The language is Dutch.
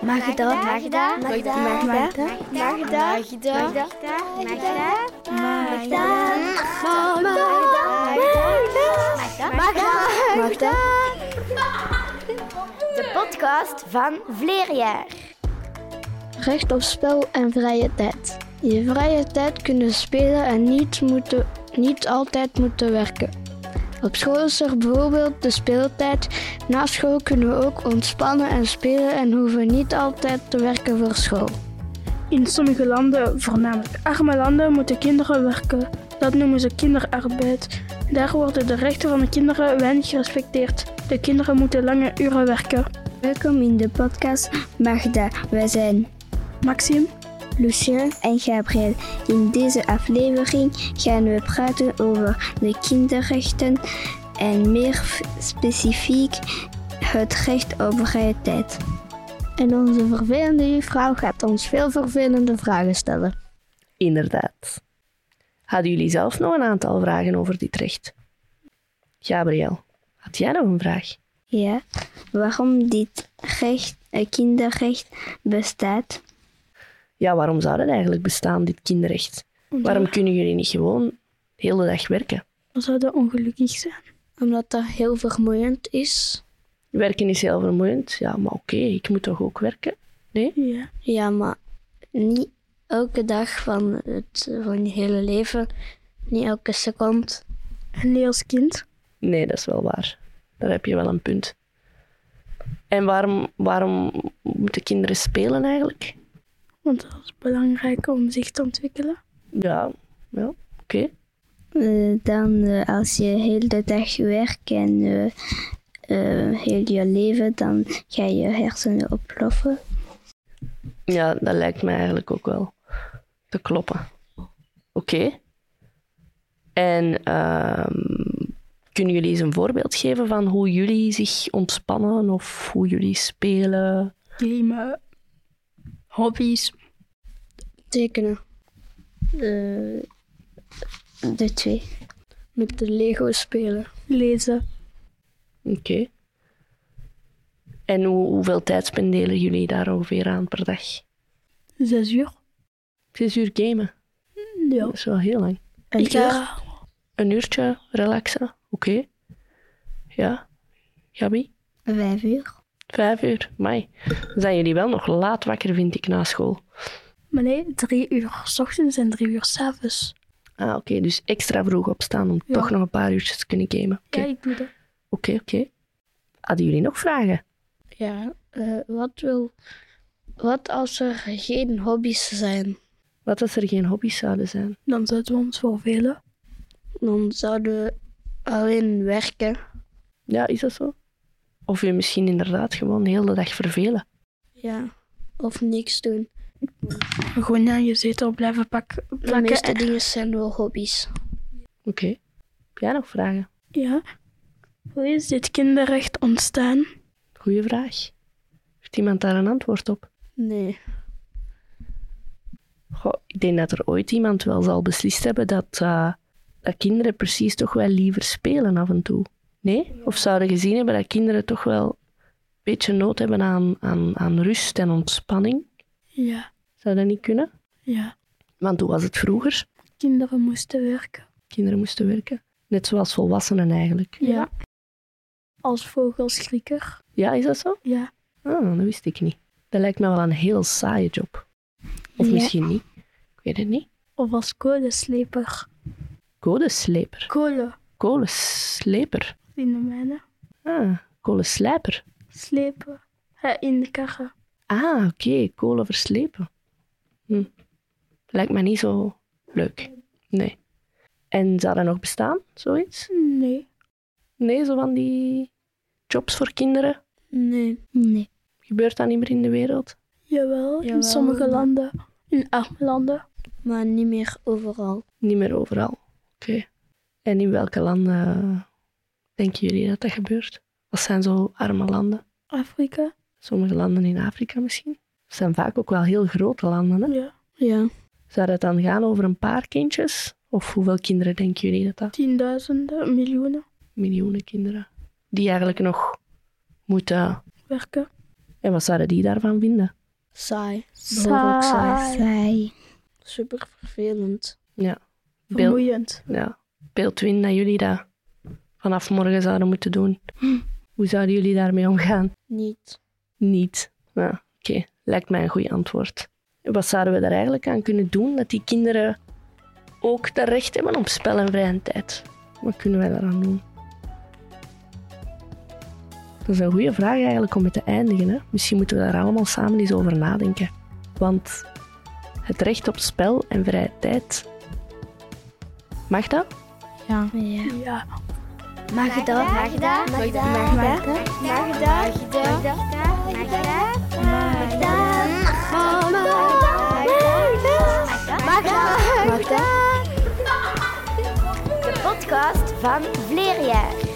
Magda, Magda, Magda, Magda, Magda, Magda, Magda, Magda, Magda, Mama, Magda, Magda, Magda. de podcast van Vleerjaar. Recht op spel en vrije tijd. Je vrije tijd kunnen spelen en niet, moeten, niet altijd moeten werken. Op school is er bijvoorbeeld de speeltijd. Na school kunnen we ook ontspannen en spelen en hoeven niet altijd te werken voor school. In sommige landen, voornamelijk arme landen, moeten kinderen werken. Dat noemen ze kinderarbeid. Daar worden de rechten van de kinderen weinig gerespecteerd. De kinderen moeten lange uren werken. Welkom in de podcast Magda. Wij zijn Maxim, Lucien en Gabriel. In deze aflevering gaan we praten over de kinderrechten en meer specifiek het recht op vrije tijd. En onze vervelende juffrouw gaat ons veel vervelende vragen stellen. Inderdaad. Hadden jullie zelf nog een aantal vragen over dit recht? Gabriel, had jij nog een vraag? Ja, waarom dit recht, eh, kinderrecht bestaat? Ja, waarom zou dat eigenlijk bestaan, dit kinderrecht? Waarom kunnen jullie niet gewoon de hele dag werken? we zouden ongelukkig zijn. Omdat dat heel vermoeiend is. Werken is heel vermoeiend, ja, maar oké, ik moet toch ook werken? Ja. Ja, maar niet elke dag van het van je hele leven. Niet elke seconde. En nee als kind. Nee, dat is wel waar. Daar heb je wel een punt. En waarom, waarom moeten kinderen spelen eigenlijk? Want dat is belangrijk om zich te ontwikkelen. Ja, ja oké. Eh, dan eh, als je heel de dag werkt en eh, eh, heel je leven, dan ga je hersenen oploffen. Ja, dat lijkt me eigenlijk ook wel te kloppen. Oké. En ehm, kunnen jullie eens een voorbeeld geven van hoe jullie zich ontspannen of hoe jullie spelen? Gamen. Hobby's. Tekenen. Eh, de twee. Met de Lego spelen. Lezen. Oké. En hoe, hoeveel tijd spenderen jullie daar ongeveer aan per dag? Zes uur. Zes uur gamen. Ja. Dat is wel heel lang. Een Ik eh, ga Een uurtje relaxen. Oké. Ja. Gabi? Vijf uur. Vijf uur. Mai. Dan zijn jullie wel nog laat wakker, vind ik, na school. Maar nee, drie uur s ochtends en drie uur s avonds. Ah, oké. Dus extra vroeg opstaan om Ja. toch nog een paar uurtjes te kunnen gamen. Oké, Ja, ik doe dat. oké. oké. Hadden jullie nog vragen? Ja, eh, wat, wil, wat als er geen hobby's zijn? Wat als er geen hobby's zouden zijn? Dan zouden we ons vervelen. Dan zouden we alleen werken. Ja, is dat zo? Of je misschien inderdaad gewoon de hele dag vervelen. Ja. Of niks doen. Gewoon aan je zetel blijven pak- De plakken. meeste en- dingen zijn wel hobby's. Oké. Heb jij nog vragen? Ja. Hoe is dit kinderrecht ontstaan? Goeie vraag. Heeft iemand daar een antwoord op? Nee. Goh, ik denk dat er ooit iemand wel zal beslist hebben dat, eh, dat kinderen precies toch wel liever spelen af en toe. Nee? Of zouden gezien hebben dat kinderen toch wel een beetje nood hebben aan, aan, aan rust en ontspanning? Ja, Zou dat niet kunnen? ja. Want hoe was het vroeger? Kinderen moesten werken. Kinderen moesten werken. Net zoals volwassenen eigenlijk. Ja. Als vogelschrieker. Ja, is dat zo? Ja. Ah, dat wist ik niet. Dat lijkt me wel een heel saaie job. Of Ja. misschien niet. Ik weet het niet. Of als kolensleper. Kolensleper. Kolen Kolensleper. in de mijnen. Ah, kolenslijper. Slepen. Ja, in de karren. Ah, oké. Kolen verslepen. Hm. Lijkt me niet zo leuk. Nee. En zou dat nog bestaan, zoiets? Nee. Nee, zo van die jobs voor kinderen. Nee. Nee. Gebeurt dat niet meer in de wereld? Jawel, Jawel. in sommige landen. In arme landen. Maar niet meer overal. Niet meer overal. Oké. En in welke landen eh, denken jullie dat dat gebeurt? Wat zijn zo arme landen? Afrika. Sommige landen in Afrika misschien? Het zijn vaak ook wel heel grote landen. Hè? Ja. Ja. Zou dat dan gaan over een paar kindjes? Of hoeveel kinderen denken jullie dat dat? Tienduizenden, miljoenen Miljoenen kinderen. Die eigenlijk nog moeten werken. En wat zouden die daarvan vinden? Saai. Behoorlijk saai. Saai. Super vervelend. Ja. Beeld, Vermoeiend. ja. Beeld win dat jullie dat vanaf morgen zouden moeten doen. Hm, Hoe zouden jullie daarmee omgaan? Niet. Niet. Nou, oké. Lijkt mij een goed antwoord. Wat zouden we daar eigenlijk aan kunnen doen dat die kinderen ook dat recht hebben op spel en vrije tijd? Wat kunnen wij daaraan doen? Dat is een goede vraag eigenlijk om mee te eindigen. Hè? Misschien moeten we daar allemaal samen eens over nadenken. Want het recht op spel en vrije tijd. Mag dat? Ja. Magda. Magda. Magda. Magda. Magda. Magda. Magda. Magda. Magda. De podcast van Vleerjaar.